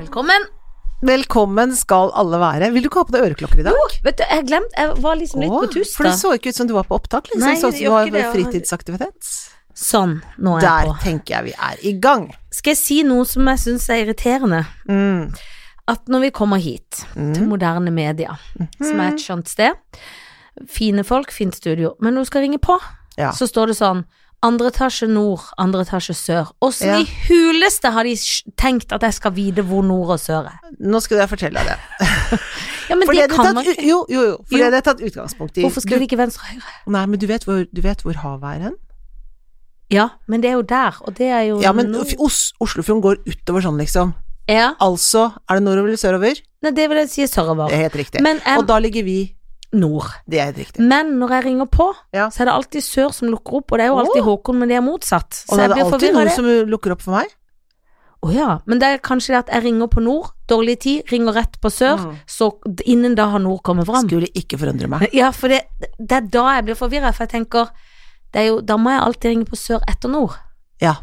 Velkommen. Velkommen skal alle være. Vil du ikke ha på deg øreklokker i dag? Vet du, jeg glemte Jeg var liksom litt Åh, på tuss, For da. det så ikke ut som du var på opptak, liksom. Nei, Nei, sånn det som du gjør har ikke det. fritidsaktivitet. Sånn, nå er Der jeg på. tenker jeg vi er i gang. Skal jeg si noe som jeg syns er irriterende? Mm. At når vi kommer hit, til moderne media, Mhm. som er et skjønt sted, fine folk, fint studio, men når du skal ringe på, Ja. så står det sånn andre etasje nord, andre etasje sør. Åssen Ja. i huleste har de sj- tenkt at jeg skal vite hvor nord og sør er? Nå skal jeg fortelle deg det. Ja, men For det det er kan man tatt, ikke. jo, jo, jo. For Jo. det er tatt utgangspunkt i Hvorfor skriver de du, ikke venstre og høyre? Nei, men du vet hvor, du vet hvor havet er hen? Ja, men det er jo der, og det er jo Ja, men nord. Os- Oslofjorden går utover sånn, liksom. Ja, Altså, er det nordover eller sørover? nei, det vil jeg si er Det sørover. er helt riktig. Men em, Og da ligger vi nord. Det er helt riktig. Men når jeg ringer på, Ja. så er det alltid sør som lukker opp, og det er jo alltid Åh. Håkon, men det er motsatt. Så Og det jeg er blir alltid forvirra. noen Som... som lukker opp for meg. ja. Men det er kanskje det at jeg ringer på nord, dårlig tid, ringer rett på sør, Mm. så innen da har nord kommet fram. Skulle ikke forundre meg. Ja, for det, det er da jeg blir forvirra, for jeg tenker det er jo, Da må jeg alltid ringe på sør etter nord. Ja.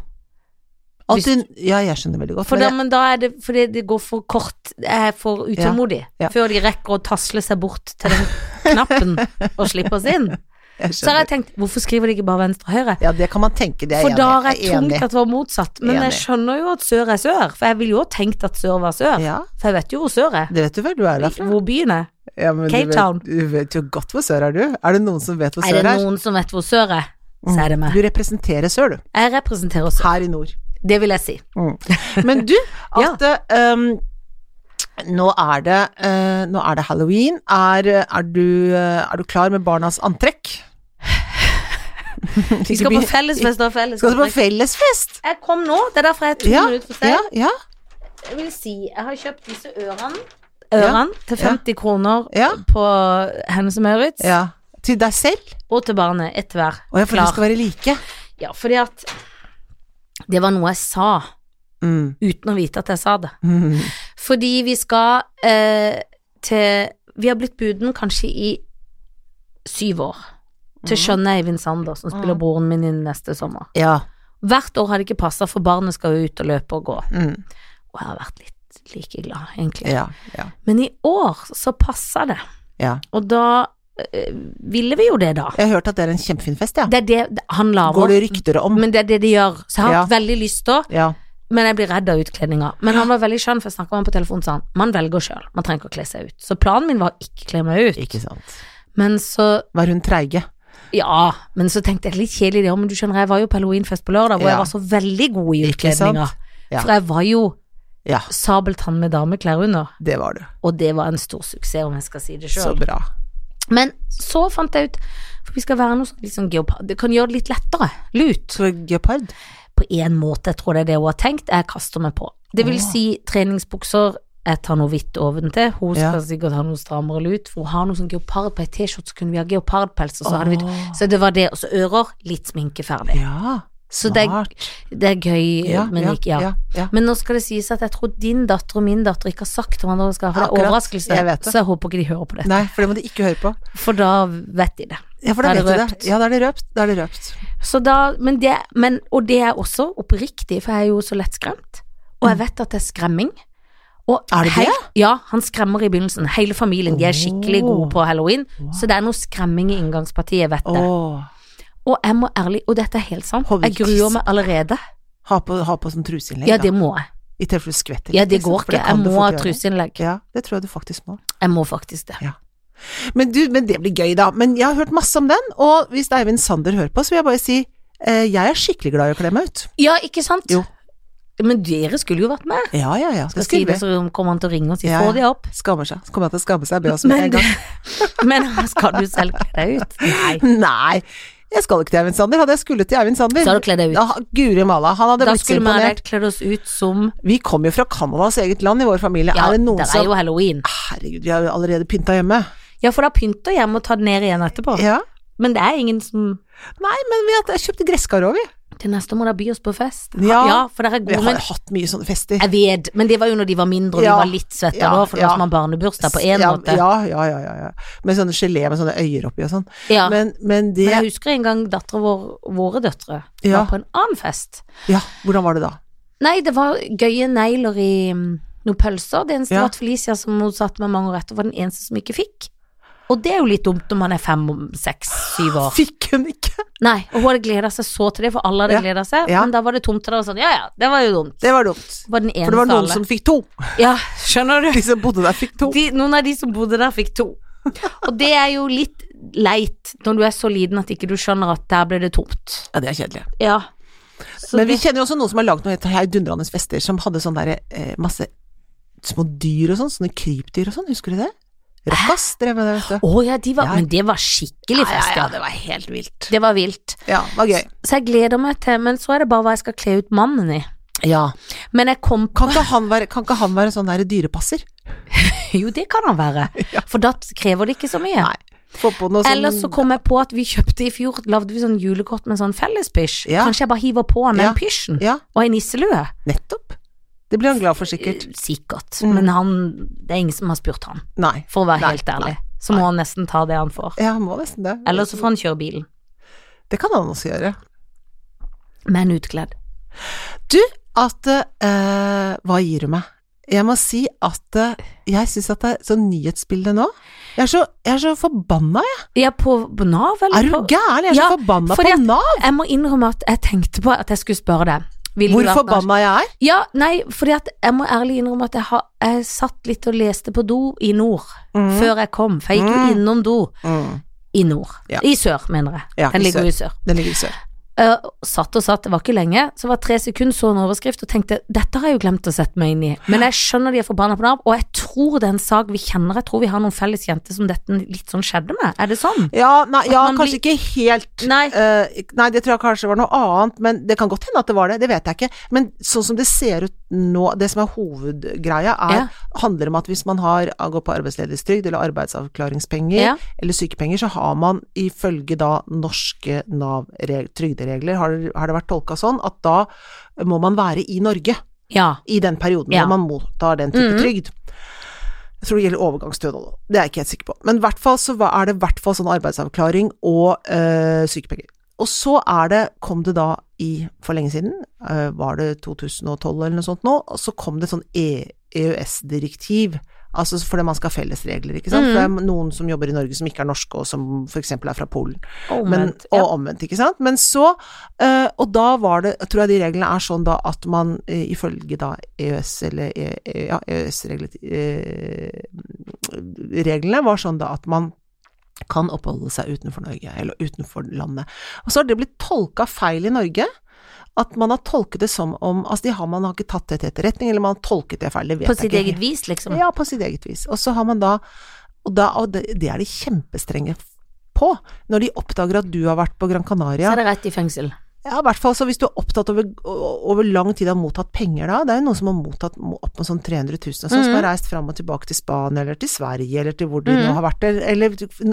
Hvis- Alltid Ja, jeg skjønner veldig godt. For men da, jeg- men da er det fordi det går for kort, jeg er for utålmodig, Ja. før de rekker å tasle seg bort til den knappen og slippe oss inn. jeg Så har jeg tenkt, hvorfor skriver de ikke bare venstre og høyre? Ja, det kan man tenke, det er For jeg da har enig. jeg tungt at det var motsatt. Men jeg Enig. skjønner jo at sør er sør, for jeg ville jo ha tenkt at sør var sør. Ja, For jeg vet jo hvor sør er. det vet du vel, du er derfra. Hvor byen er. Ja, men du Cape vet- Town. Du vet jo godt hvor sør er du. Er det noen som vet hvor Er sør det er? Mm. noen som vet hvor sør er, så er det meg. Du representerer sør, du. Jeg representerer sør. Her i nord. Det vil jeg si. Men du, at ehm, nå er det eh, Nå er det halloween. Er, er, du, eh, er du klar med barnas antrekk? Vi skal på fellesfest og Skal du på fellesfest. fellesfest? Jeg kom nå, det er derfor jeg er to Ja, minutter for ja, sent. ja. Jeg vil si, jeg har kjøpt disse ørene. Ja. Ørene til Ja. 50 kroner Ja. på Hennes og Maurits, ja. Til deg selv? og til barnet ett hver. Å ja, for Klar. de skal være like? Ja, fordi at det var noe jeg sa Mm. uten å vite at jeg sa det. Mm. Fordi vi skal eh, til Vi har blitt buden kanskje i syv år. Til skjønne Eivind Sander, som spiller Mhm. broren min inn neste sommer. Ja. Hvert år har det ikke passa, for barnet skal jo ut og løpe og gå. Mm. Og jeg har vært litt like glad, egentlig. ja. Ja. Men i år så passa det. Ja. Og da eh, ville vi jo det, da. Jeg har hørt at det er en kjempefin fest, ja. Det er det han Går det lager. rykter om? Men det er det de gjør. Så jeg har Ja. hatt veldig lyst da, Ja. men jeg blir redd av utkledninga. Men han var veldig skjønn, for jeg snakka med han på telefonen, sa han. Man velger sjøl, man trenger ikke å kle seg ut. Så planen min var å ikke kle meg ut. Ikke sant. Men så Var hun treige? Ja, men så tenkte jeg litt kjedelig det òg, men du skjønner, jeg var jo på halloweenfest på lørdag, hvor Ja. jeg var så veldig god i Ikke sant? utkledninga. Ja. For jeg var jo Ja, sabeltann med dameklær under, det var du. og det var en stor suksess, om jeg skal si det Så sjøl. bra. Men så fant jeg ut For vi skal være noe sånn, litt sånn geopard Det kan gjøre det litt lettere. Lut. Så geopard? På én måte, jeg tror det er det hun har tenkt. Jeg kaster meg på. Det vil Åh. si treningsbukser. Jeg tar noe hvitt oventil. Hun Ja. skal sikkert ha noe strammere lut. For hun har noe sånn geopard på ei T-skjorte, så kunne vi ha geopardpels, og så hadde vi Åh. Så det var det. Og så ører. Litt sminke ferdig. Ja, Så det er, smart. det er gøy, men ikke ja. ja, ja. Men nå skal det sies at jeg tror din datter og min datter ikke har sagt til hverandre hva de skal ha, for det Akkurat, er overraskelse. jeg vet det. Så jeg håper ikke de hører på det. Nei, for det må de ikke høre på. For da vet de det. Ja, for da Da er det vet du det. røpt. Ja, da er det røpt. Da er det røpt. Så da, men det, men, og det er også oppriktig, for jeg er jo så lettskremt. Og jeg vet at det er skremming. Og Mm. Er det hei- det? Ja, han skremmer i begynnelsen. Hele familien, de er skikkelig Åh. gode på halloween. Så det er noe skremming i inngangspartiet, vet jeg. Åh. Og jeg må ærlig, og dette er helt sant, Har vi jeg gruer meg allerede. Ha på, ha på sånn truseinnlegg, Ja, da. det må jeg. I tilfelle du skvetter. Ja, litt, det liksom, går for ikke. kan Jeg du må fort ha gjøre. truseinnlegg. Ja, det tror jeg du faktisk må. Jeg må faktisk det. Men, du, men det blir gøy, da. Men jeg har hørt masse om den, og hvis Eivind Sander hører på, så vil jeg bare si eh, jeg er skikkelig glad i å kle meg ut. Ja, ikke sant? Jo. Men dere skulle jo vært med. Ja, ja, Jeg ja. Det si skulle det, vi. så kommer han til å ringe og si Ja, få de ja. opp. Skammer seg. Så kommer han til å skamme seg. Be oss med Men, en gang. men skal du selv kle deg ut? Nei. Nei, jeg skal ikke til Eivind Sander. Hadde jeg skulle til Eivind Sander Så hadde du kledd deg ut. Da, Guri malla, han hadde Da blitt så skulle vi ha imponert. kledd oss ut som Vi kommer jo fra Canadas eget land i vår familie. Ja, er det noen der er som jo halloween. Herregud, vi har jo allerede pynta hjemme. Ja, for da pynter jeg med å ta det ned igjen etterpå. Ja. Men det er ingen som Nei, men vi har kjøpt gresskar òg, vi. Til neste må da by oss på fest. Ja. for dere er Vi gode, har men jo hatt mye sånne fester. jeg vet, men det var jo når de var mindre og de Ja. var litt svette Ja, da, for da ja. var man barnebursdag på én ja, måte. Ja, ja, ja, ja, ja. Med sånne gelé med sånne øyer oppi og sånn. Ja. Men, men det Men jeg husker en gang datteren vår, våre døtre, Ja. var på en annen fest. Ja, hvordan var det da? Nei, det var gøye negler i mm, noen pølser. Det eneste Ja. var at Felicia, som hun satt med mange år etter, var den eneste som ikke fikk. Og det er jo litt dumt når man er fem, seks, syv år. Fikk hun ikke? Nei, og hun hadde gleda seg så til det, for alle hadde Ja. gleda seg. Ja. Men da var det tomt til det, og sånn, ja ja, det var jo dumt. Det var dumt. Det var den eneste For det var av noen alle. som fikk to. Ja, skjønner du? De som bodde der, fikk to. De, noen av de som bodde der, fikk to. Og det er jo litt leit når du er så liten at ikke du skjønner at der ble det tomt. Ja, det er kjedelig. Ja. Så Men vi det, kjenner jo også noen som har lagd noen helt heidundrende fester, som hadde sånn derre eh, masse små dyr og sånn, sånne krypdyr og sånn, husker du det? Rockas drev med det, vet du. Å ja, de var Ja. Men det var skikkelig fest, ja. det var helt vilt. Det var vilt. Ja, det var gøy. Så jeg gleder meg til Men så er det bare hva jeg skal kle ut mannen i. Ja. Men jeg kom Kan ikke han være, kan ikke han være sånn derre dyrepasser? Jo, det kan han være. For da krever det ikke så mye. Nei. Få på noe sånn Eller så kom jeg på at vi kjøpte i fjor Lagde vi sånn julekort med sånn fellespysj. Ja. Kanskje jeg bare hiver på han den Ja. pysjen. Ja, Og ei nisselue. nettopp. Det blir han glad for, sikkert. Sikkert. Mm. Men han Det er ingen som har spurt han, Nei. for å være Nei, helt ærlig. Så må han nesten ta det han får. Ja, han må nesten det. Eller så får han kjøre bilen. Det kan han også gjøre. Men utkledd. Du, at eh, Hva gir du meg? Jeg må si at eh, jeg syns at det er sånn nyhetsbilde nå Jeg er så, jeg er så forbanna, jeg. Ja, på på Nav, eller? Er du på- gæren? Jeg er Ja, så forbanna fordi på at- Nav! Jeg må innrømme at jeg tenkte på at jeg skulle spørre deg. Ville Hvor du vært forbanna jeg er? Nav- Ja, nei, fordi at jeg må ærlig innrømme at jeg, har, jeg satt litt og leste på do i nord Mm. før jeg kom, for jeg gikk jo Mm. innom do Mm. i nord. Ja. I sør, mener jeg. Ja, Den i ligger jo i sør. Den ligger i sør. Eh, satt og satt, det var ikke lenge, så var det tre sekunder, så en overskrift og tenkte dette har jeg jo glemt å sette meg inn i. Men jeg skjønner de er forbanna på Nav, og jeg tror det er en sak vi kjenner, jeg tror vi har noen felles jenter som dette litt sånn skjedde med. Er det sånn? Ja, nei, ja man kanskje ikke helt Nei. eh, ikk- nei, det tror jeg kanskje var noe annet, men det kan godt hende at det var det, det vet jeg ikke. Men sånn som det ser ut nå, det som er hovedgreia, er, Ja. handler om at hvis man har, går på arbeidsledighetstrygd eller arbeidsavklaringspenger Ja. eller sykepenger, så har man ifølge da norske Nav-trygderegler, har, har det vært tolka sånn, at da må man være i Norge Ja. i den perioden Ja. når man mottar den type Mhm. trygd. Jeg tror det gjelder overgangsstønad òg, det er jeg ikke helt sikker på. Men i hvert fall så var- er det i hvert fall sånn arbeidsavklaring og øh, sykepenger. Og så er det, kom det da i, for lenge siden, øh, var det 2012 eller noe sånt nå, og så kom det sånn E- EØS-direktiv. Altså fordi man skal ha felles regler, ikke sant. For det er noen som jobber i Norge som ikke er norske, og som f.eks. er fra Polen. Men, Omvendt. Oh, og ja. omvendt, ikke sant. Men så eh, Og da var det Tror jeg de reglene er sånn da at man eh, ifølge da EØS eller E- E- ja, EØS-reglene var sånn da at man kan oppholde seg utenfor Norge, eller utenfor landet. Og så har det blitt tolka feil i Norge. At man har tolket det som om Altså, de har, man har ikke tatt det til etterretning, eller man har tolket det feil. Det vet På jeg sitt ikke. eget vis, liksom. Ja, på sitt eget vis. Og så har man da Og, da, og det, det er de kjempestrenge på. Når de oppdager at du har vært på Gran Så Canaria. er det rett i fengsel. Ja, i hvert fall så hvis du er opptatt over, over lang tid har mottatt penger da. Det er jo noen som har mottatt mo- opp mot sånn 300 000 og sånn, som Mhm. har reist fram og tilbake til Spania eller til Sverige eller til hvor de nå Mhm. har vært. Eller, eller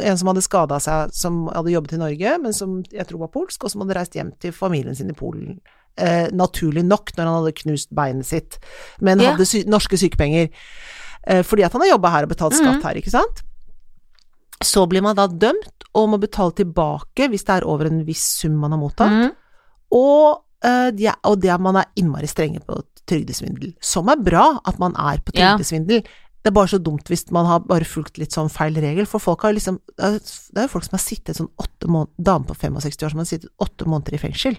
en som hadde skada seg, som hadde jobbet i Norge, men som jeg tror var polsk, og som hadde reist hjem til familien sin i Polen. Eh, naturlig nok, når han hadde knust beinet sitt, men Ja. hadde sy norske sykepenger. Eh, fordi at han har jobba her og betalt skatt her, ikke sant? Så blir man da dømt og må betale tilbake hvis det er over en viss sum man har mottatt. Mm. Og, eh, de er, og det at man er innmari strenge på trygdesvindel. Som er bra at man er på Ja. trygdesvindel. Det er bare så dumt hvis man har bare fulgt litt sånn feil regel, for folk har jo liksom Det er det er jo folk som har sittet sånn åtte måneder Dame på 65 år som har sittet åtte måneder i fengsel.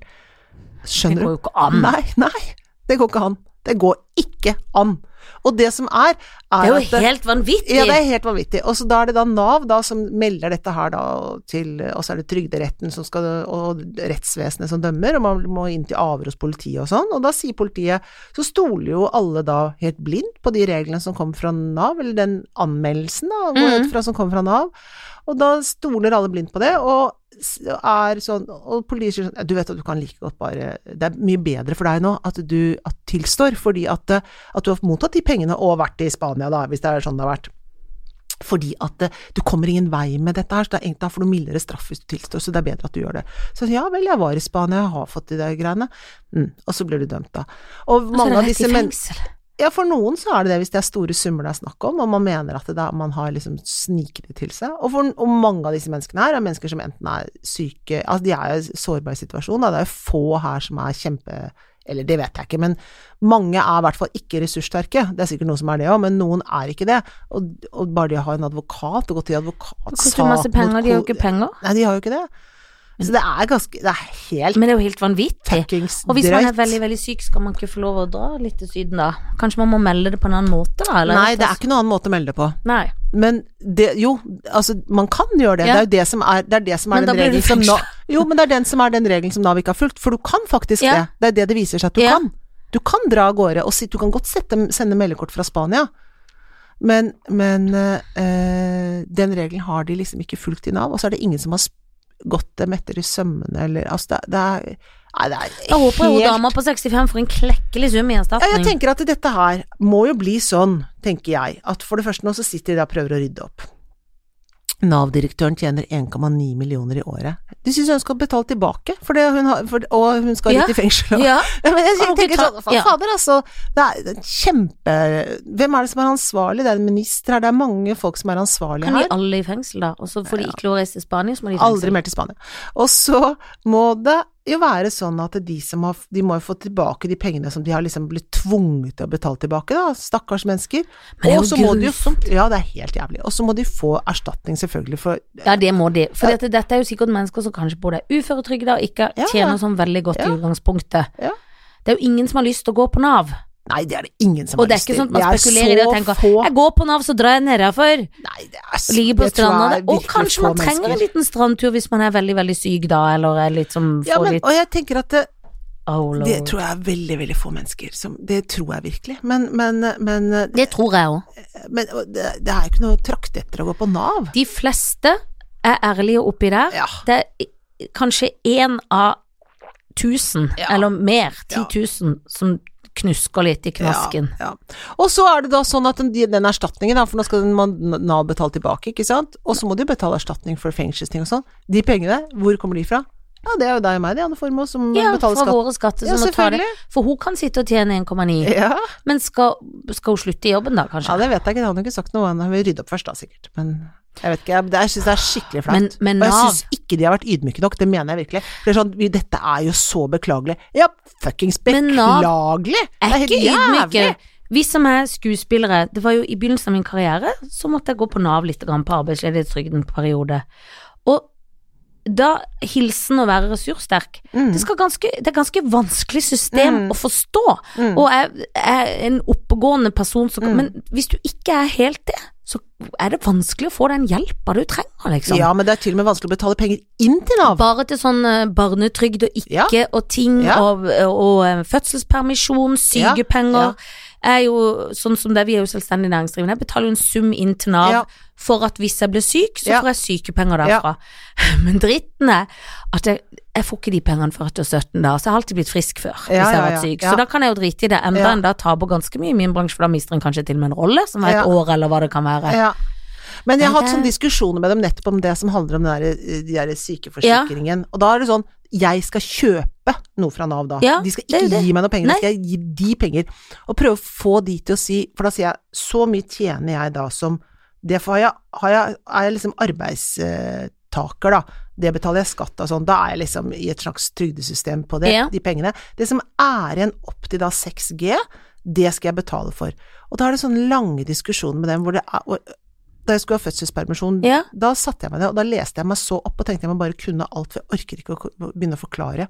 Det Skjønner du? går jo ikke an. Nei, nei. Det går ikke an. Det går ikke an. Og det som er, er Det er at jo helt vanvittig. ja, det er helt vanvittig. Og så da er det da Nav da som melder dette her da til Og så er det Trygderetten som skal Og rettsvesenet som dømmer, og man må inn til avhør hos politiet og sånn. Og da sier politiet Så stoler jo alle da helt blindt på de reglene som kom fra Nav, eller den anmeldelsen da, går jeg ut fra, som kom fra Nav. Og da stoler alle blindt på det, og s- er sånn Og politiet sier sånn Du vet at du kan like godt bare Det er mye bedre for deg nå at du at tilstår, fordi at, eh, at du har mottatt de pengene og vært i Spania, da, hvis det er sånn det har vært. Fordi at eh, du kommer ingen vei med dette her, så det er egentlig, da får du mildere straff hvis du tilstår, så det er bedre at du gjør det. Så ja vel, jeg var i Spania, jeg har fått de der greiene. Mm, og så blir du dømt, da. Og Og så er Altså, det mange av rett disse i men fengsel. Ja, for noen så er det det, hvis det er store summer det er snakk om, og man mener at det da, man har liksom sniket det til seg. Og, for, og mange av disse menneskene her er mennesker som enten er syke Altså, de er i en sårbar situasjon, da. Det er jo få her som er kjempe Eller det vet jeg ikke, men mange er i hvert fall ikke ressurssterke. Det er sikkert noen som er det òg, men noen er ikke det. Og, og bare det å ha en advokat, og gå til Det advokatsak koster masse penger, de har jo ikke penger. Nei, de har jo ikke det. Så det er ganske Det er helt Men det er jo helt vanvittig. fuckings Mm. Og hvis man er drøyt. veldig, veldig syk, skal man ikke få lov å dra litt til Syden da? Kanskje man må melde det på en annen måte, da? Eller? sånn- Nei, det er ikke noen annen måte å melde det på. Nei. Men det Jo, altså, man kan gjøre det. Ja. Det er jo det som er, det er, det som Men er da den blir liksom du regelen som fengslet. Nav Jo, men det er den som er den regelen som Nav ikke har fulgt, for du kan faktisk Ja. det. Det er det det viser seg at du Ja. kan. Du kan dra av gårde, og si, du kan godt sette, sende meldekort fra Spania. Men, men eh, eh, den regelen har de liksom ikke fulgt i Nav, og så er det ingen som har sp- gått dem etter i sømmene, eller altså det, det er Nei, det er helt Da håper jeg hun dama på 65 får en klekkelig sum i Ja, jeg erstatning. tenker at dette her må jo bli sånn, tenker jeg, at for det første nå så sitter de der og prøver å rydde opp. Nav-direktøren tjener 1,9 millioner i året. De syns hun skal betale tilbake, for det hun har, for, og hun skal Ja. rett i fengsel. ja. Ja, men jeg Og hun tenker kan sånn, ta- ja. fader altså, det er en kjempe... Hvem er det som er ansvarlig? Det er en minister her, det er mange folk som er ansvarlige Kan de her. alle i fengsel, da? Og så får de ikke lov å reise til Spania, så må de i Aldri fengsel. mer til Spania. Og så må det jo være sånn at de som har De må jo få tilbake de pengene som de har liksom blitt tvunget til å betale tilbake, da. Stakkars mennesker. Men det er Og jo så må de grusomt. Ja, det er helt jævlig. Og så må de få erstatning, selvfølgelig, for Ja, det må de. For dette, dette er jo sikkert mennesker som kanskje både er uføretrygda og ikke Ja, tjener ja. sånn veldig godt i Ja. utgangspunktet. Ja. Det er jo ingen som har lyst til å gå på Nav. Nei, det er det ingen som Og det er har lyst ikke til. sånn at man spekulerer i det og tenker få Jeg går på Nav, så drar jeg ned herfor. Nei, det er så Ligger på det tror jeg stranda er der. Og virkelig kanskje få man trenger en mennesker. liten strandtur hvis man er veldig, veldig syk da, eller er litt som ja, får men, litt og jeg tenker at det, oh, lord. det tror jeg er veldig, veldig få mennesker som Det tror jeg virkelig. Men, men, men, men, Det tror jeg òg. det, det er jo ikke noe å trakte etter å gå på Nav. De fleste er ærlige oppi der. Ja. Det er i- kanskje én av tusen, Ja. eller mer, ti Ja. tusen, som knusker litt i knasken. Ja, ja. Og så er det da sånn at den, den erstatningen, da, for nå skal den man- Nav betale tilbake, ikke sant, og så må de jo betale erstatning for fengselsting og sånn. De pengene, hvor kommer de fra? Ja, det er jo deg og meg, det, Anne Formoe, som Ja, betaler fra skatt. våre skatter, Ja, så må ta det. selvfølgelig. For hun kan sitte og tjene 1,9, Ja. men skal, skal hun slutte i jobben da, ja, kanskje? det vet jeg ikke, han har ikke sagt noe, han vil rydde opp først da, sikkert. Men jeg vet ikke, jeg, det- jeg syns det er skikkelig Men, flaut. men Og jeg Nav syns ikke de har vært ydmyke nok, det mener jeg virkelig. Det er sånn, vi- dette er jo så beklagelig. Ja, fuckings Men Nav beklagelig! Det er ikke helt ydmyke. Vi som er skuespillere, det var jo i begynnelsen av min karriere, så måtte jeg gå på Nav litt grann på arbeidsledighetstrygden på periode. Og da hilsen å være ressurssterk. Mm. Det, skal ganske, det er ganske vanskelig system Mm. å forstå. Mm. Og jeg er en oppegående person som kan Mm. Men hvis du ikke er helt det, så er det vanskelig å få den hjelpa du trenger, liksom. Ja, men det er til og med vanskelig å betale penger inn til Nav. Bare til sånn eh, barnetrygd og ikke og ting Ja. og, og eh, fødselspermisjon, Ja, sykepenger. ja. Er jo sånn som det, vi er jo selvstendig næringsdrivende. Jeg betaler jo en sum inn til Nav Ja. for at hvis jeg blir syk, så Ja. får jeg sykepenger derfra. Men dritten er at jeg, jeg får ikke de pengene før jeg er 17 da, så jeg har alltid blitt frisk før hvis Ja, jeg har ja, vært ja, syk. ja. Så da kan jeg jo drite i det enda Ja. enn da taper ganske mye i min bransje, for da mister en kanskje til og med en rolle som er et Ja. år eller hva det kan være. Ja. Men jeg har Nei, det- hatt sånne diskusjoner med dem nettopp om det som handler om den der, eh, de der sykeforsikringen. Og da er det sånn, jeg skal kjøpe noe fra Nav da. Ja, de skal det er jo ikke det. gi meg noe penger, Nei. de skal gi de penger. Og prøve å få de til å si, for da sier jeg, så mye tjener jeg da som det for har jeg, har jeg, er jeg liksom arbeidstaker da, det betaler jeg skatt av sånn, da er jeg liksom i et slags trygdesystem på det, Ja. de pengene. Det som er igjen opp til da 6G, det skal jeg betale for. Og da er det sånne lange diskusjoner med dem hvor det er og, Da jeg skulle ha fødselspermisjon, Ja. da satte jeg meg ned, og da leste jeg meg så opp og tenkte jeg må bare kunne alt, for jeg orker ikke å ko- begynne å forklare.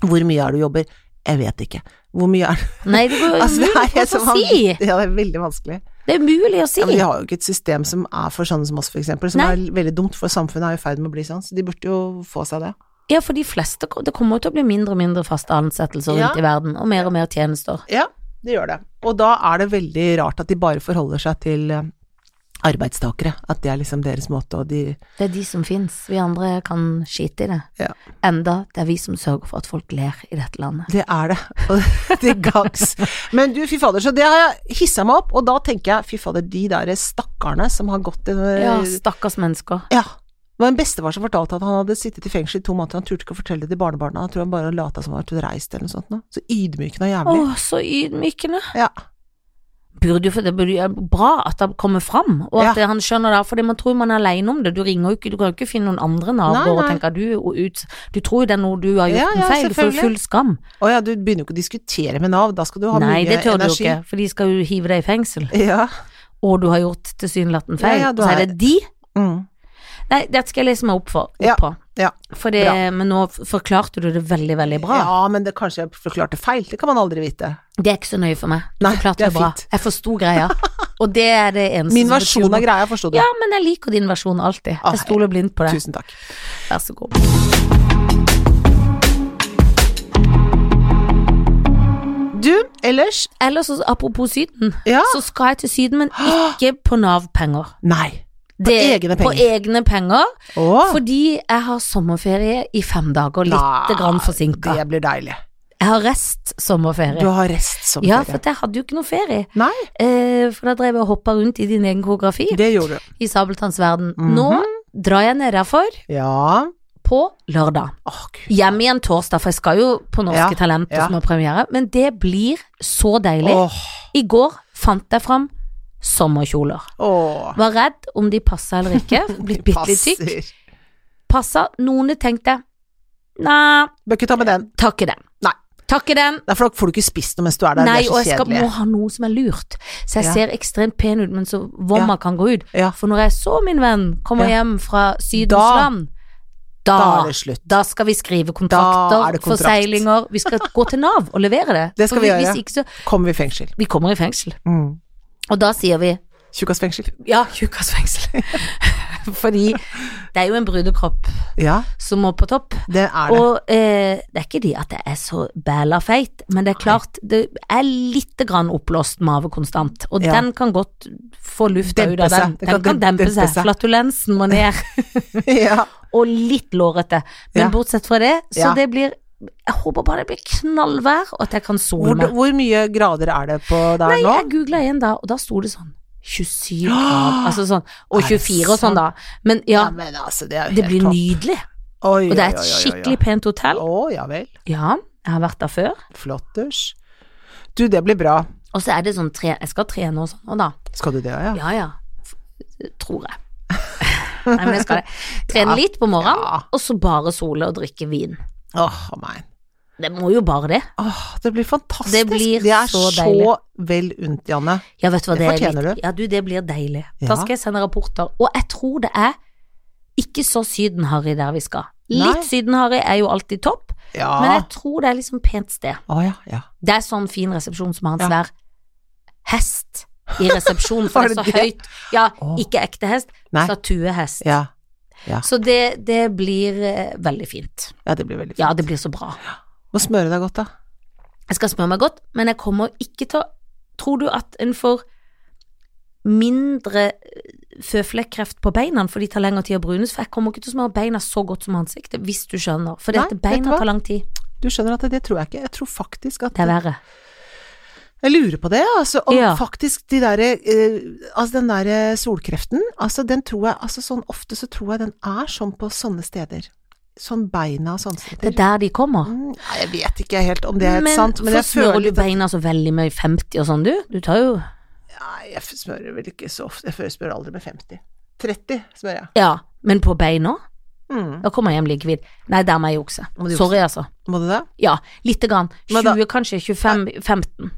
Hvor mye er det du jobber? Jeg vet ikke. Hvor mye er det? Nei, det går jo Altså, det er umulig så å si! vanskelig. Ja, det er veldig vanskelig. Det er umulig å si. Ja, men vi har jo ikke et system som er for sånne som oss, for eksempel, som Nei. er veldig dumt, for samfunnet er jo i ferd med å bli sånn, så de burde jo få seg det. Ja, for de fleste, det kommer jo til å bli mindre og mindre faste ansettelser rundt Ja. i verden, og mer og mer tjenester. Ja, det gjør det. Og da er det veldig rart at de bare forholder seg til eh, arbeidstakere, at det er liksom deres måte, og de Det er de som fins, vi andre kan skite i det. Ja. Enda det er vi som sørger for at folk ler i dette landet. Det er det. Og til gangs. Men du, fy fader, så det har jeg hissa meg opp, og da tenker jeg, fy fader, de der stakkarene som har gått i Ja, stakkars mennesker. Ja. Det var en bestefar som fortalte at han hadde sittet i fengsel i to måneder, han turte ikke å fortelle det til barnebarna, han tror han bare lata som han hadde vært reist eller noe sånt. nå. Så Å, ydmykende og jævlig. så ydmykende. Ja. burde jo, for det burde, jo- bra at det kommer fram, og at Ja. han skjønner det. Fordi man tror man er alene om det. Du ringer jo ikke, du kan jo ikke finne noen andre naboer Nei, og nei. tenke at du er ut Du tror jo det er noe du har gjort Ja, en ja, feil. Du får jo selvfølgelig. full skam. Å ja, du begynner jo ikke å diskutere med Nav, da skal du ha Nei, mye det tør energi. du jo ikke, for de skal jo hive deg i fengsel. Ja. Og du har gjort tilsynelatende feil. Ja, ja, og du så er er- det de Mm. Nei, dette skal jeg lese meg opp, for, opp Ja, på. ja, For det, bra. men nå f- forklarte du det veldig, veldig bra. ja, men det kanskje jeg forklarte feil, det kan man aldri vite. Det er ikke så nøye for meg. Du Nei, forklarte det er det bra. fint. Jeg forsto greia. Og det er det eneste Min som betyr versjon noe. av greia, forsto du? Ja, men jeg liker din versjon alltid. Ah, Jeg stoler blindt på det. Tusen takk. Vær så god. Du, ellers Ellers, så- apropos Syden, Ja. så skal jeg til Syden, men ikke på Nav-penger. Nei. På Det- egne På penger. egne penger. Å, Fordi jeg har sommerferie i fem dager, Nei, litt grann forsinka. det blir deilig. Jeg har rest sommerferie. Du har rest som Ja, for ferie. at jeg hadde jo ikke noe ferie. Nei, Eh, for da drev jeg og hoppa rundt i din egen koreografi det gjorde du. i Sabeltanns verden. Mhm. Nå drar jeg nedafor Ja. på lørdag. Å, gud. Hjem igjen torsdag, for jeg skal jo på Norske Ja, Talenter ja. som har premiere. Men det blir så deilig. Åh, I går fant jeg fram sommerkjoler. åh. Var redd om de passa eller ikke. Blitt bitte litt tykk. Passer. Passa. Noen tenkte nei, Bør ikke ta med den. tar ikke den. Nei. Tar ikke den. Nei, for da får du ikke spist noe mens du er der. Nei, det og er jeg så skal, må kjedelig. ha noe som er lurt. Så jeg Ja. ser ekstremt pen ut, men så vomma kan gå ut. Ja. For når jeg så min venn komme Ja. hjem fra Sydens Da- land, da, Da er da, det slutt. skal vi skrive Da er kontrakter, det kontrakt. forseglinger Vi skal gå til Nav og levere det. Det For skal vi Hvis gjøre. ikke, så Kommer vi i fengsel. Vi kommer i fengsel. Mm. Og da sier vi Tjukkasfengsel. ja, tjukkasfengsel. Fordi det er jo en brudekropp Ja, som må på topp. det er det. Og eh, det er ikke de at jeg er så bæla feit, men det er klart det er litt grann oppblåst mave konstant. Og Ja. den kan godt få lufta Dempe ut av den. seg. Det Den kan kan dem- dempe dempe seg. seg. Flatulensen må ned. ja. Og litt lårete. Men Ja. bortsett fra det, så Ja. det blir Jeg håper bare det blir knallvær, og at jeg kan sole Hvor, meg. hvor mye grader er det på der nå? Jeg googla igjen da, og da sto det sånn 27 grader, altså sånn, Er og det 24 og sånn, sant? da. Men ja, men altså, det er det blir nydelig. Oi, Og det er oi, et oi, oi, oi. skikkelig pent hotell. Å, ja vel. Ja, jeg har vært der før. Flotters. Du, det blir bra. Og så er det sånn tre Jeg skal trene og sånn, og da. Skal du det, ja? Ja ja. F- Tror jeg. Nei, men jeg skal det. Trene Ja. litt på morgenen, Ja. og så bare sole og drikke vin. Åh, amen. Det må jo bare det. Åh, det blir fantastisk. Det blir er så så, deilig. vel unt, Janne. Ja, vet du hva Det det, er fortjener litt- Ja, du, det blir deilig. Ja. Da skal jeg sende rapporter. Og jeg tror det er ikke så Syden-Harry der vi skal. Nei. Litt Syden-Harry er jo alltid topp, Ja. men jeg tror det er liksom pent sted. Å ja, ja. Det er sånn fin resepsjon som har en Ja. svær hest i resepsjonen, for Var det er så det det? høyt. Ja, Åh. ikke ekte hest, Nei. statuehest. ja. Så det, det blir eh, veldig fint. Ja, det blir veldig fint. Ja, det blir så bra. Må smøre deg godt, da. Jeg skal smøre meg godt, men jeg kommer ikke til å Tror du at en får mindre føflekkreft på beina fordi det tar lengre tid å brunes? For jeg kommer ikke til å smøre beina så godt som ansiktet, hvis du skjønner. For Nei, at vet du beina hva? tar lang tid. Du skjønner at det, det tror jeg ikke. Jeg tror faktisk at Det er verre. Jeg lurer på det, altså. Om Ja. faktisk de derre eh, Altså den derre solkreften, altså den tror jeg Altså sånn ofte så tror jeg den er sånn på sånne steder. Sånn beina og sånne Det er steder. der de kommer. Mm, nei, jeg vet ikke helt om det er men sant, men jeg for smører føler du beina så veldig mye i 50 og sånn, du? Du tar jo Nei, jeg smører vel ikke så ofte. Jeg smører aldri med 50. 30 smører jeg. Ja, men på beina? Mm. Da kommer jeg hjem like hvit. Nei, der må jeg jukse. Må du jukse. Sorry, altså. Må du det? Ja, lite grann. Men da- 20, kanskje 25, 15.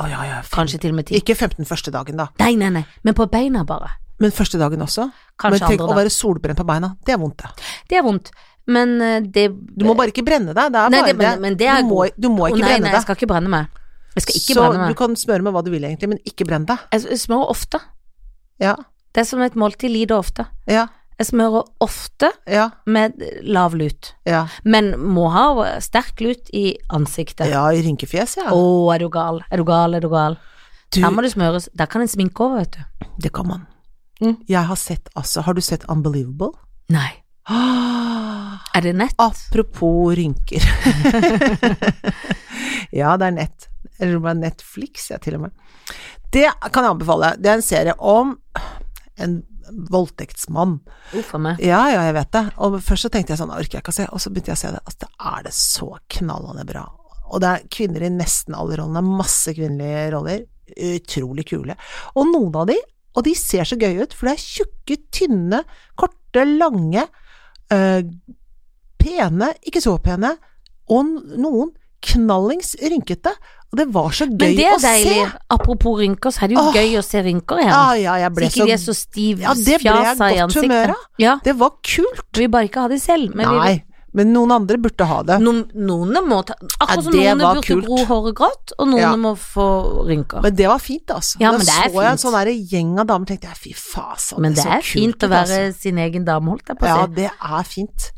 Å ja, ja. fem- Kanskje til og med 10. Ikke 15 første dagen, da. Nei, nei, nei. Men på beina bare. Men første dagen også. Kanskje men tenk å andre, da. være solbrent på beina. Det er vondt, det. Det er vondt. Men eh, det Du må bare ikke brenne deg. Det er Nei, bare det- men- men det er du, må, god- du må Å, ikke nei, brenne nei, jeg deg. skal ikke brenne meg. Jeg skal ikke så brenne du meg. kan smøre med hva du vil, egentlig, men ikke brenn deg. Jeg s- smører ofte. Ja. Det er som et måltid lider ofte. Ja. Jeg smører ofte Ja. med lav lut, Ja. men må ha eh, sterk lut i ansiktet. Å, ja I rynkefjes, ja. er du gal, er du gal, er du gal. Du, Der må det smøres. Der kan en sminke over, vet du. det kan man. Mm. Jeg har sett, altså Har du sett Unbelievable? Nei. Ah. Er det nett? Apropos rynker. ja, det er nett. Eller om det er Netflix, ja, til og med. Det kan jeg anbefale. Det er en serie om en voldtektsmann. Uff a meg. Ja, ja, jeg vet det. Og først så tenkte jeg sånn, orker jeg ikke å se, og så begynte jeg å se det. Altså, det er det så knallende bra. Og det er kvinner i nesten alle rollene, masse kvinnelige roller. utrolig kule. Og noen av de, og de ser så gøye ut, for de er tjukke, tynne, korte, lange, eh, pene, ikke så pene, og n- noen knallings rynkete. Og det var så gøy Men det å er deilig. se. Ah. Apropos rynker, så er det jo Åh. gøy å se rynker igjen. Ja, ja, jeg så ikke ble Ah, så de er så stiv Ja, det ble jeg fjasa i godt humør ansiktet. av. Ja, Det var kult. vi bare ikke ha det selv. Men vi, Nei, men noen andre burde ha det. noen, noen må ta Akkurat som det noen var burde kult. gro håret grått, og noen Ja. må få rynker. Men det var fint, altså. Ja, da men det så er jeg en fint. sånn der gjeng av damer, tenkte jeg fy fasan, Men det så er kult fint ut, å være altså. sin egen dame, holdt jeg på å Ja, si. det er fint.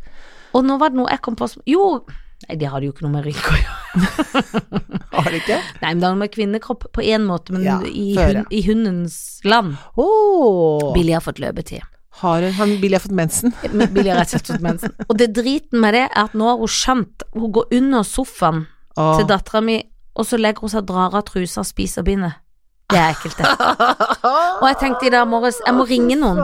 Og nå var det noe jeg kom på som Jo, nei, det hadde jo ikke noe med rynker å gjøre. Har det ikke? Nei, men det hadde med kvinnekropp på én måte, men Ja, i, få høre. hun, i hundens land. Åh, Billy har fått løpetid. har hun han Billy har fått mensen? Men Billy har rett og slett fått mensen. Og det driten med det er at nå har hun skjønt Hun går under sofaen Åh. til dattera mi, og så legger hun seg, drar av trusa og spiser bindet. Det er ekkelt, det. Og jeg tenkte i dag morges, jeg må ringe noen.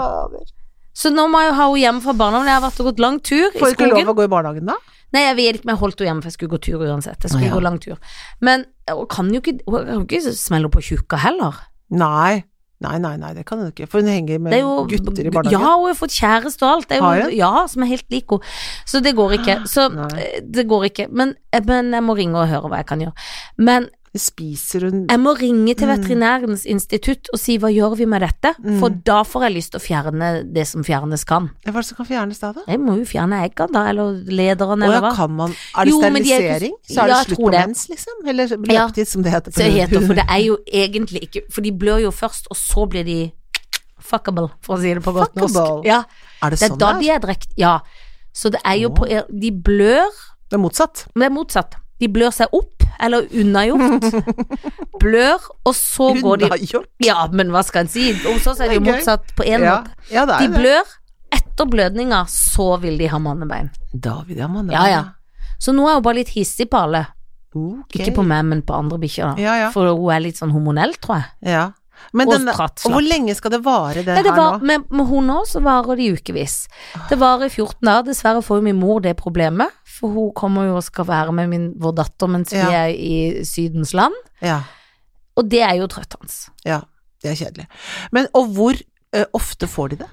Så nå må jeg jo ha henne hjemme fra barnehagen. Jeg har vært og gått lang tur i Får ikke skogen. lov å gå i barnehagen da? Nei, jeg vet ikke, men jeg holdt henne hjemme, for jeg skulle gå tur uansett. Jeg skulle Å, ja. gå lang tur. Men hun kan jo ikke, hun kan jo ikke smelle opp på tjukka heller. Nei. Nei, nei, nei, det kan hun ikke, for hun henger med Det er jo, gutter i Ja, barnehagen. hun har fått kjæreste og alt. Det er Har jo, hun? ja, som er helt lik henne. Så det går ikke. Så Nei. eh, det går ikke. Men, eh, men jeg må ringe og høre hva jeg kan gjøre. Men Spiser hun jeg må ringe til Mm. Veterinærens institutt og si hva gjør vi med dette? Mm. For da får jeg lyst til å fjerne det som fjernes kan. Hva er det som kan fjernes da, da? Jeg må jo fjerne eggene da, eller lederen, Å ja, eller hva. kan man Er det Jo, men de er ikke- sterilisering? Så er det Ja, jeg slutt tror på det. mens, liksom? Eller Ja. løpetid, som det heter. på Så det heter, for hund. det er jo egentlig ikke For de blør jo først, og så blir de fuckable, for å si det på godt norsk. Fuckable? Ja, Er det det er sånn da det de er? er drekt. Ja. Så det er jo på De blør, Det er motsatt. men det er motsatt. De blør seg opp, eller unnagjort. Blør, og så går de Unnagjort. Ja, men hva skal en si? Hos oss er det jo Det er gøy. motsatt på én Ja, måte. ja, det De er det. blør. Etter blødninga, så vil de ha mannebein. David, ja, mann. Ja, ja. Så nå er hun bare litt hissig på alle. Ok. Ikke på meg, men på andre bikkjer, da. Ja, ja. For hun er litt sånn hormonell, tror jeg. ja. Men Og den, pratt, og hvor lenge skal det vare, det, Nei, det her var, nå? med, med hun nå så varer det i ukevis. Det varer i 14 dager. Dessverre får jo min mor det problemet, for hun kommer jo og skal være med min, vår datter mens Ja. vi er i Sydens land, Ja, og det er jo trøttende. ja. Det er kjedelig. Men og hvor eh, ofte får de det?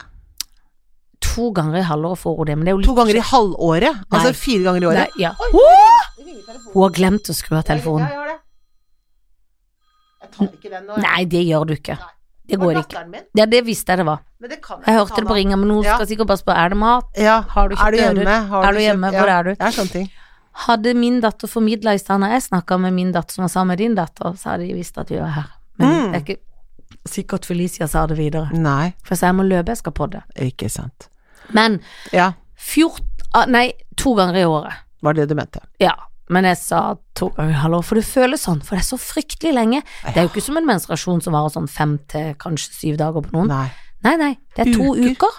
To ganger i halvåret får hun det, men det er jo litt To ganger i halvåret? Nei. Altså fire ganger i Nei, året? ja. Hun har glemt å skru av telefonen. Jeg gjør det. Jeg tar ikke den nå. Nei, det gjør du ikke. Nei. Det går ikke. Ja, det visste jeg det var. Men det kan Jeg hørte det på ringa, men hun Ja. skal sikkert bare spørre er det mat. Ja. Har du kjøpt Er du ører? hjemme? Har Er du kjøpt- hjemme? Hvor ja. er du? Det er sånne ting. Hadde min datter formidla i stad når jeg snakka med min datter som var sammen med din datter, så hadde de visst at vi var her. Men Mm. det er ikke sikkert Felicia sa det videre. Nei, For jeg sa jeg må løpe, jeg skal på det. ikke sant. Men Ja, 14 ah, Nei, to ganger i året. var det du mente. Ja. Men jeg sa to ganger i halvåret, for det føles sånn. For det er så fryktelig lenge. Det er jo ikke som en menstruasjon som varer sånn fem til kanskje syv dager på noen. Nei. Nei, nei. Det er to Uker. uker.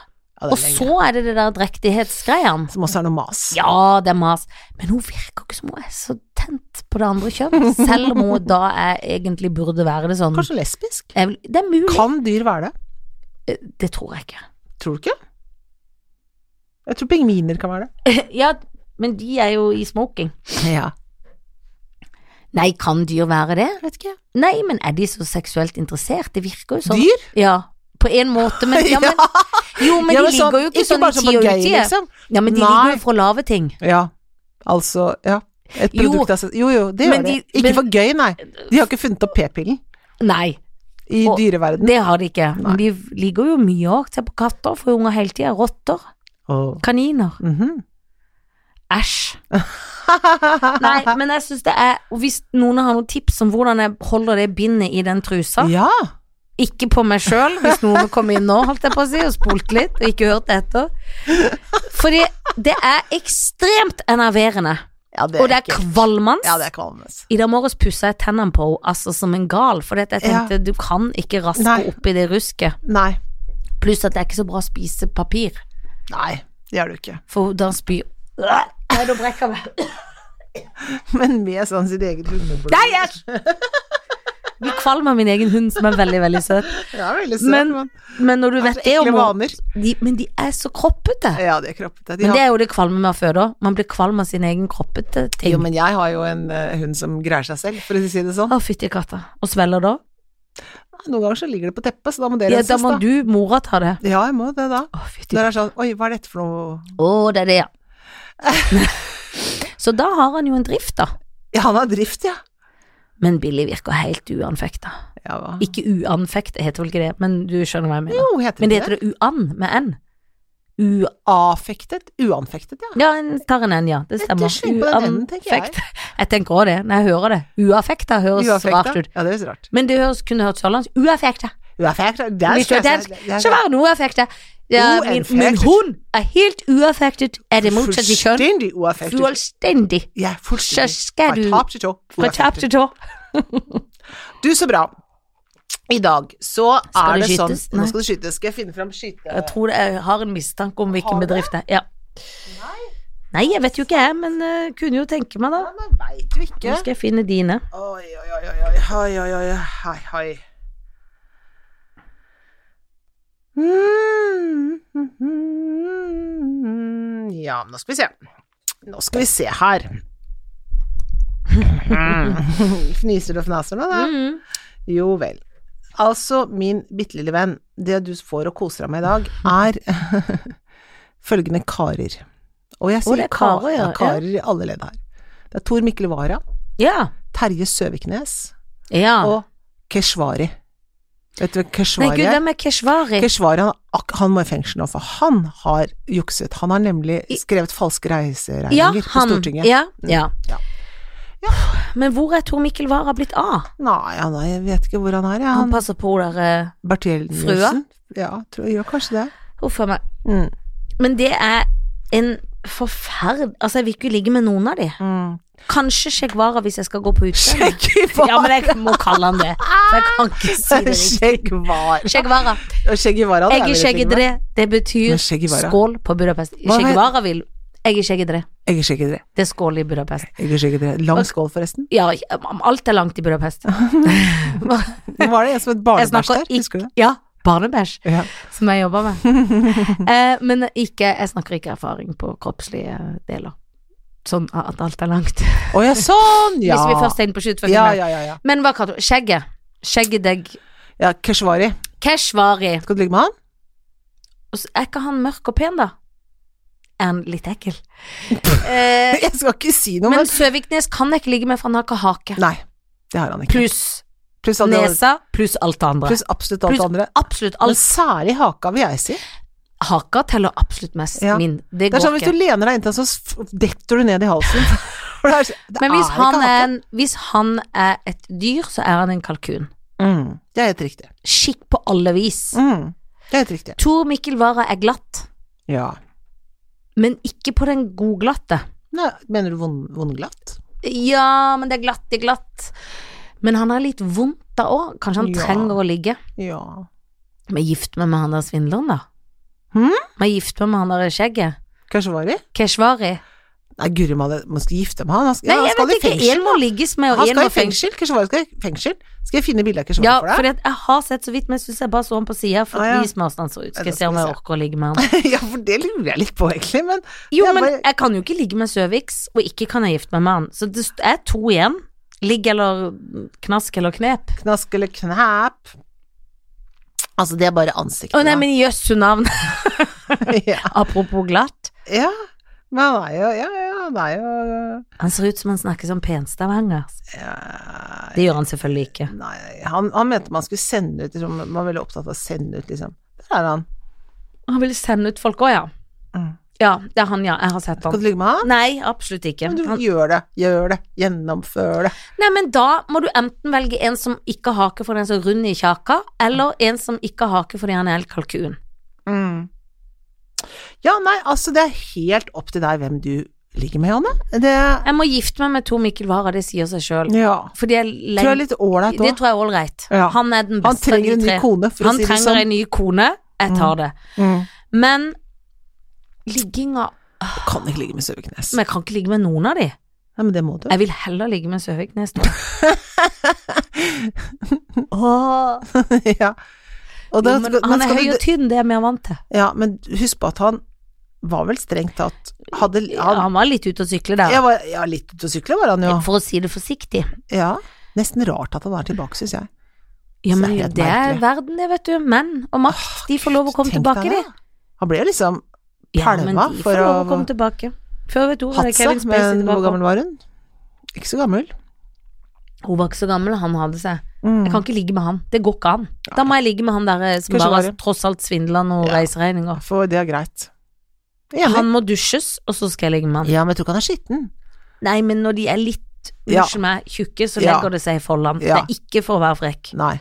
Ja, det er Og lenge. så er det det der drektighetsgreiene. Som også er noe mas. Ja, det er mas. Men hun virker ikke som hun er så tent på det andre kjønn. Selv om hun da er, egentlig burde være det sånn. Kanskje lesbisk? Jeg vil- Det er mulig. Eh, Kan dyr være det? Det tror jeg ikke. Tror du ikke? Jeg tror pingviner kan være det. Ja, men de er jo i smoking. Ja. Nei, kan dyr være det? Vet ikke. Nei, men er de så seksuelt interessert? Det virker jo sånn. Dyr? Ja, på en måte, men, ja, men Jo, men Ja, de sånn- ligger jo ikke sånn i bare ti på og gøy, uti. liksom. Ja, men de Nei. ligger jo for lave ting. Ja, altså, ja. Et Jo. produkt av seg Jo, jo, det gjør Men de- det. Ikke men- for gøy, nei. De har ikke funnet opp p-pillen Nei, i Og- dyreverden. det har de ikke. Men de ligger jo mye òg. Se på katter, får unger hele tida. Rotter. Åh. Kaniner. Mhm. Æsj. Nei, men jeg synes det er og Hvis noen har noen tips om hvordan jeg holder det bindet i den trusa Ja. Ikke på meg sjøl, hvis noen kom inn nå, holdt jeg på å si, og spolt litt og ikke hørt etter. Fordi det er ekstremt enerverende, ja det og det er ekkelt. kvalmende. Ja, det er kvalmende. I dag morges pussa jeg tennene på henne altså som en gal, for jeg tenkte du kan ikke raske Nei. opp i det rusket. Nei. Pluss at det er ikke så bra å spise papir, Nei, det gjør du ikke. for da spyr Nei, da brekker jeg meg. Men med sånn sitt eget hundeblod. Nei, æsj! Blir kvalm av min egen hund, som er veldig, veldig søt. Det er veldig søt, Men- men, men Men når du vet det om Altså, ekle henne vaner. de, Men de er så kroppete. Ja, de er kroppete. De Men det har, er jo det kvalme med å føde òg. Man blir kvalm av sin egen kroppete ting. jo, men jeg har jo en eh, hund som greier seg selv, for å si det sånn. Å, fytti katta. Og svelger da? Nei, Noen ganger så ligger det på teppet, så da må dere Ja, da må da. du, mora, ta det. Ja, jeg må det da. Å, fytti Når det er sånn Oi, hva er dette for noe Å, det er det, ja. Så da har han jo en drift, da. Ja, han har drift, ja. Men Billy virker helt uanfekta. ja hva? Ikke uanfekt, det heter vel ikke det, men du skjønner hva jeg Jo, mener. heter Men det det ikke det? heter det uan med n. U Avfektet? Uanfektet, ja. ja, en tar en n, ja. Det Litt stemmer. sling på den enden, tenker jeg. Uanfekt. Jeg tenker òg det, når jeg hører det. Uaffekta høres rart ut. Ja, det høres rart. Men det høres, kunne hørt sørlandsk. Uaffekta. Uanfektet, det er Hvis du er dansk, så var hun uaffekta. Ja, men, Uanfektet. men hun er helt uaffektet av det motsatte kjønn. Fullstendig uanfektet. Fullstendig. Ja, Så fullstendig. skal du Fra topp til tå. fra topp til tå. Du, så bra. I dag så Skal er det det sånn skytes? Nå Nei. skal det skytes. Skal jeg finne fram skyte... Jeg tror det, jeg har en mistanke om hvilken Har du? bedrift det er. Ja. Nei, jeg vet jo ikke jeg, men eh, kunne jo tenke meg da. Ja, men veit jo Nå ikke. skal jeg finne dine. Oi, oi, oi, oi, oi, oi, oi, oi, hei, hei. Mm. Ja, nå skal vi se. Nå skal vi se her. Mm. Fniser du og fnaser nå, da? Mm. Jo vel. Altså, min bitte lille venn, det du får og koser deg med i dag, er følgende karer. Og jeg det sier er karer, ja, ja. karer i alle ledd her. Det er Tor Mikkel Wara, Ja. Terje Søviknes ja. og Keshvari. Vet du hvem Nei, Keshvari gud, er? hvem er Keshvari? Keshvari han, ak- han må i fengsel nå, for han har jukset. Han har nemlig I- skrevet falske reiseregninger Ja, på han. Stortinget. Ja, Mm. ja. Ja. Men hvor er Tor Mikkel Wara blitt av? Nei, han er, jeg vet ikke hvor han er. Ja. Han Han, passer på der eh, Bertelsen. Ja, tror jeg gjør kanskje det. Huff a meg. Mm. Men det er en forferd... Altså, jeg vil ikke ligge med noen av de. Mm. Kanskje Sjekk Wara hvis jeg skal gå på utstedet. Skjeggevara. Ja, men jeg må kalle han det. For jeg kan ikke si det riktig. Skjeggevara. Sjekk Wara. Og Skjeggevara, det Jeg er er vel et skjeggedre, det betyr Men skjeggevara. skål på Budapest. Hva het- Skjeggevara vil Jeg er skjeggedre, ting. Jeg er skjeggedre. det er skål i Budapest. Jeg er skjeggedre. Lang skål, forresten. Ja, alt er langt i Budapest. Nå var det en som het Jeg barnebæsj snakker der, husker du det? Ja, barnebæsj, Ja. som jeg jobber med. Eh, men ikke, jeg snakker ikke erfaring på kroppslige deler. Sånn at alt er langt. Å ja, sånn, ja. Hvis vi først er inne på Ja, sluttfølgende. ja, ja. ja. Men hva kaller du skjegget? Skjeggedegg. ja Keshvari. Keshvari. Skal du ligge med han? Og så Er ikke han mørk og pen, da? Er han litt ekkel? Eh, Jeg skal ikke si noe, men men Søviknes kan jeg ikke ligge med, for han har ikke hake. Nei, det har han ikke. Pluss Pluss alle- nesa, pluss alt det andre. pluss absolutt alt Pluss det andre. Absolutt Men alt. særlig haka, vil jeg si. Haka teller absolutt mest Ja. min. Det Det er går sånn hvis du ikke. lener deg inntil han, så f- detter du ned i halsen. For det er, det Men hvis er han ikke er, haka. en, hvis han er et dyr, så er han en kalkun. mm, Det er helt riktig. Skikk på alle vis. Mm, det er helt riktig. Tor Mikkel Wara er glatt, Ja. men ikke på den godglatte. Nei, mener du vond- vondglatt? Ja, men det er glatt i glatt. Men han er litt vondt da òg. Kanskje han Ja. trenger å ligge. Ja. Men gift meg med han der svindleren, da. Hm? Men gift meg med han der i skjegget. Keshvari? Keshvari. Nei, guri malla, man skal gifte med han. Han skal, Nei, han jeg skal vet i ikke. fengsel. En må ligges med, og han en skal må i fengsel. fengsel. Keshvari skal i fengsel. Skal jeg finne bilde av Keshvari Ja, for for deg? jeg har sett så vidt, men jeg syns jeg bare så han på sida fordi Ah, ja. smasen så ut. Skal Ja, jeg se om skal vi jeg se. orker å ligge med han. ja, for det lurer jeg litt på, egentlig. Men Jo, Jeg men bare- jeg kan jo ikke ligge med Søviks, og ikke kan jeg gifte meg med han. Så det st- er to igjen. Ligg eller knask eller knep. knask eller knæp Altså, det er bare ansiktet. Å nei, da. men jøssu navn. ja. Apropos glatt. ja, men han er jo Ja, ja, han er jo Han ser ut som han snakker som penstavanger. ja, Det gjør han selvfølgelig ikke. Nei, han, han mente man skulle sende ut liksom, Man var veldig opptatt av å sende ut, liksom. Der er han. Han vil sende ut folk òg, ja. Mm. Ja, det er han, ja. Jeg har sett Skal han. du ligge med han? Nei, absolutt ikke. Men du, Han, Gjør det, gjør det, gjennomfør det. nei, men da må du enten velge en som ikke har hake fordi han er så rund i kjaka, eller en som ikke har hake fordi han er en kalkun. Mm. Ja, nei, altså det er helt opp til deg hvem du ligger med, Janne. Det Jeg må gifte meg med Tor Mikkel Wara, det sier seg sjøl. ja. Fordi jeg tror jeg er leng- litt ålreit Det òg. tror jeg er ålreit. Ja. Han er den Han beste av trenger de en ny tre. kone, for Han å si det trenger sånn. en ny kone. Jeg tar det. Mm. Men ligginga Kan ikke ligge med Søviknes. Men jeg kan ikke ligge med noen av de. Nei, men det må du. Jeg vil heller ligge med Søviknes. nå. Åh. ja. Og Jo, da, men men, han er skal høy du, og tynn, det er jeg mer vant til. ja, men husk på at han var vel strengt tatt Hadde han, Han var litt ute å sykle der. jeg var, ja, litt ute å sykle var han jo. For å si det forsiktig. Ja. Nesten rart at han er tilbake, syns jeg. Ja, Så men det er helt det er merkelig. verden det, vet du. Menn og makt, de får lov å komme Tenk tilbake, deg de. det. Han ble jo liksom Ja, men Palma de for får lov å å- komme tilbake. Før vet du ordet, Hatsa, Kevin Spacey men hvor tilbake. gammel var hun? Ikke så gammel. Hun var ikke så gammel, han hadde seg. Mm. Jeg kan ikke ligge med han. Det går ikke an. Da må jeg ligge med han der eh, som Kanskje bare bare. har tross alt svindla noen Ja. reiseregninger. Mm. For det er greit. Jeg er enig. Han må dusjes, og så skal jeg ligge med han. Ja, men jeg tror ikke han er skitten. Nei, men når de er litt Ja. Unnskyld meg, tjukke, så Ja. legger det seg i forland. Ja. Det er ikke for å være frekk. Nei.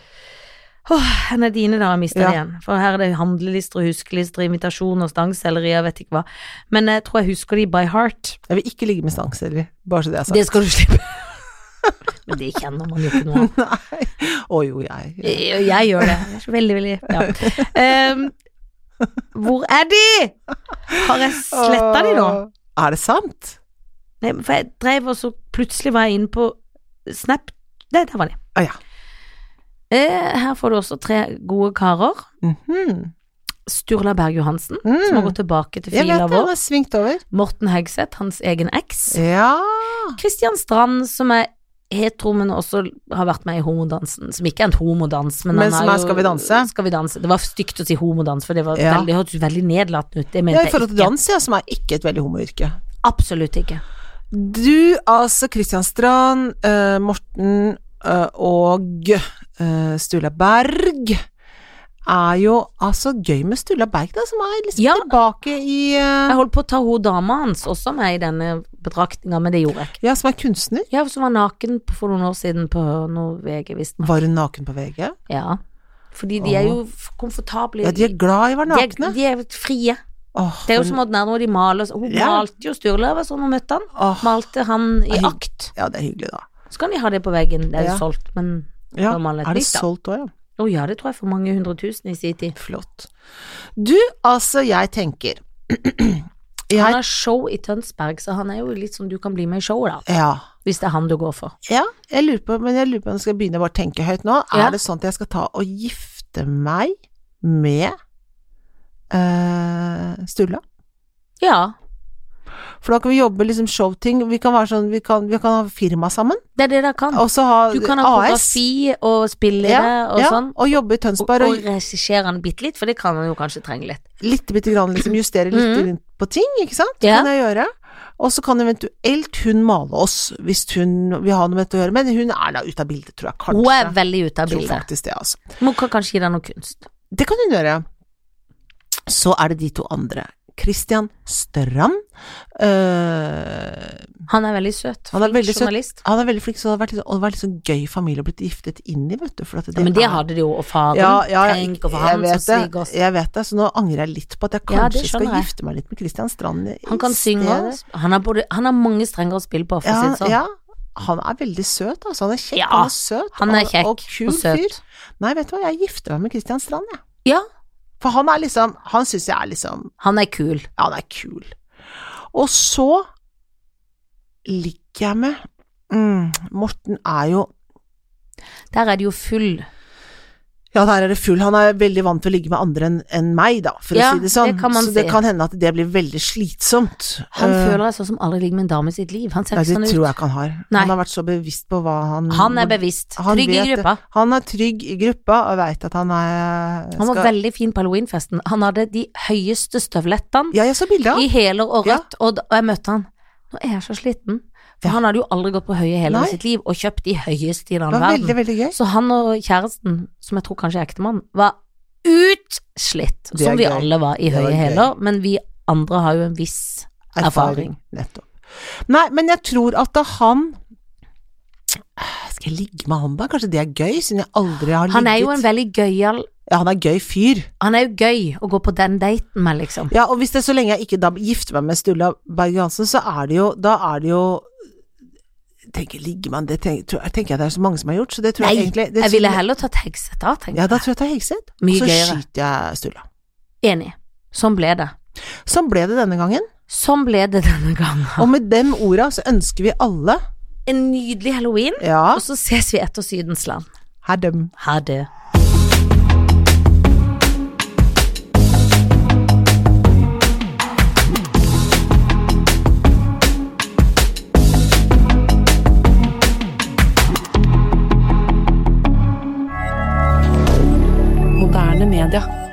Åh, henne er dine da, jeg mister Ja. det igjen. For her er det handlelister og huskelister, invitasjoner, stangselleri, jeg vet ikke hva. Men jeg tror jeg husker de by heart. Jeg vil ikke ligge med stangselger, bare så det er sagt. Det skal du slippe. Men det kjenner man jo ikke noe av. Nei. Å jo, jeg. Jeg, jeg gjør det. Jeg er så veldig, veldig ja. Ehm, Hvor er de? Har jeg sletta Eh, de nå? Åh. Er det sant? Nei, for jeg drev og så plutselig var jeg inne på Snap. Nei, der var de. Å Ah, ja. Eh, her får du også tre gode karer. Mhm. Sturla Berg Johansen, Mm. som har gått tilbake til Jeg vet fila det, han vår. har svingt over. Morten Hegseth, hans egen eks. Ja. Kristian Strand, som er hetero, men også har vært med i homodansen. Som ikke er en homodans, men, Men han som er Skal vi danse? Skal vi danse. Det var stygt å si homodans, for det, var Ja. veldig, det hørtes veldig nedlatende ut. Det ja, mente i forhold til jeg ikke. dans, ja, som er ikke et veldig homoyrke. Absolutt ikke. Du, altså Kristian Strand, eh, Morten eh, og eh, Sturla Berg er jo altså gøy med Sturla Berg, da, som er liksom Ja. tilbake i eh, Jeg holdt på å ta hun dama hans også med i denne betraktninga, men det gjorde jeg ikke. Ja, som er kunstner. Ja, som var naken på- for noen år siden på noe VG, visstnok. Var hun naken på VG? Ja. Fordi de er jo f- komfortable. Ja, de er glad i å være de er- nakne. de er frie. Åh, Det er jo som ordinært når de maler Hun Ja. malte jo Sturla, var sånn hun møtte han. åh. Malte han i Ai. akt. Ja, det er hyggelig, da. Så kan de ha det på veggen. Det er jo Ja. solgt, men Ja, Da maler jeg et Er det nytt, da. solgt òg, ja? Å ja, det tror jeg for mange hundre tusen i sin tid. Flott. Du, altså, jeg tenker Han Jeg har show i Tønsberg, så han er jo litt som du kan bli med i showet, da. Ja. Hvis det er han du går for. Ja, jeg lurer på, men jeg lurer på om jeg skal begynne å bare tenke høyt nå. Ja. Er det sånn at jeg skal ta og gifte meg med eh, Sturla? Ja. For da kan vi jobbe liksom showting, vi kan være sånn, vi kan, vi kan ha firma sammen, Det er det dere kan. og så ha AS. Du kan ha fotografi og spille i Ja, det og ja, sånn. og jobbe i Og, Tønsberg, og og regissere han bitte litt, for det kan han jo kanskje trenge litt. litt bitte grann liksom justere litt Mhm. rundt på ting, ikke sant? Det Ja. kan jeg gjøre. Og så kan eventuelt hun male oss, hvis hun vil ha noe med dette å gjøre, men hun er da ute av bildet, tror jeg kanskje. Hun er veldig ute av Jeg tror bildet. faktisk det, altså. Men hun kan kanskje gi deg noe kunst. Det kan hun gjøre. Så er det de to andre. Christian Strand. eh, Han er veldig søt. Han er flink veldig søt. journalist. han er veldig flink, så det har vært, litt- og det har vært litt sånn gøy familie å blitt giftet inn i, vet du. For at det Ja, men det er- hadde de jo, og faren. Ja, ja, jeg- Tenk å få jeg han som vet det. svigers. Jeg vet det, så nå angrer jeg litt på at jeg Ja, kanskje det skal skjønner jeg. gifte meg litt med Christian Strand. i- Han kan i synge. stedet. og- Han har, både, han har mange strenger å spille på, for å si Ja, det sånn. ja. Han er veldig søt, altså. Han er kjekk, Ja, han er søt. Han er og- kjekk og, og, kul søt. fyr. Nei, vet du hva, jeg gifter meg med Christian Strand, jeg. Ja, For han er liksom, han syns jeg er liksom han er kul. Ja, han er kul. Og så ligger jeg med mm, Morten er jo Der er det jo full. ja, der er det full. Han er veldig vant til å ligge med andre enn enn meg, da, for Ja, å si det sånn. det kan man så det si. kan hende at det blir veldig slitsomt. Han Eh, føler seg sånn som aldri ligger med en dame i sitt liv. Han ser Nei, ikke det sånn tror ut. jeg ikke han har. Nei. Han har vært så bevisst på hva han Han er bevisst. Han Trygg i vet det. gruppa. Han er trygg i gruppa og veit at han er Han var skal- veldig fin på halloweenfesten. Han hadde de høyeste støvlettene Ja, jeg så bildet av i han. hæler og Ja. rødt, og, da, og jeg møtte han. Nå er jeg så sliten. For Ja. han hadde jo aldri gått på høye hæler Nei. i sitt liv, og kjøpt de høyeste i den Det andre var veldig, verden. veldig gøy. Så han og kjæresten, som jeg tror kanskje er ektemann, var utslitt. Det er Som vi gøy. alle var i Det var høye gøy. hæler, men vi andre har jo en viss erfaring. Nettopp. Nei, men jeg tror at da han Skal jeg ligge med han da? Kanskje det er gøy, siden jeg aldri har ligget Han er jo en veldig gøyal Ja, han er gøy fyr. Han er jo gøy å gå på den daten med, liksom. Ja, og hvis det er så lenge jeg ikke da gifter meg med Sturla Berg Johansen, så er det jo Da er det jo Tenker ligger man det tenker, tror- jeg tenker jeg det er så mange som har gjort, så det tror jeg Nei, egentlig det jeg tror ville heller tatt Hegseth da, tenker Ja, jeg. da tror jeg det er Hegseth. Og Mye så gøyere. skyter jeg Sturla. Enig. Sånn ble det. Sånn ble det denne gangen, Sånn ble det denne gangen. og med dem orda så ønsker vi alle En nydelig halloween, Ja, og så ses vi etter Sydens land. her dem. Ha det. Moderne media.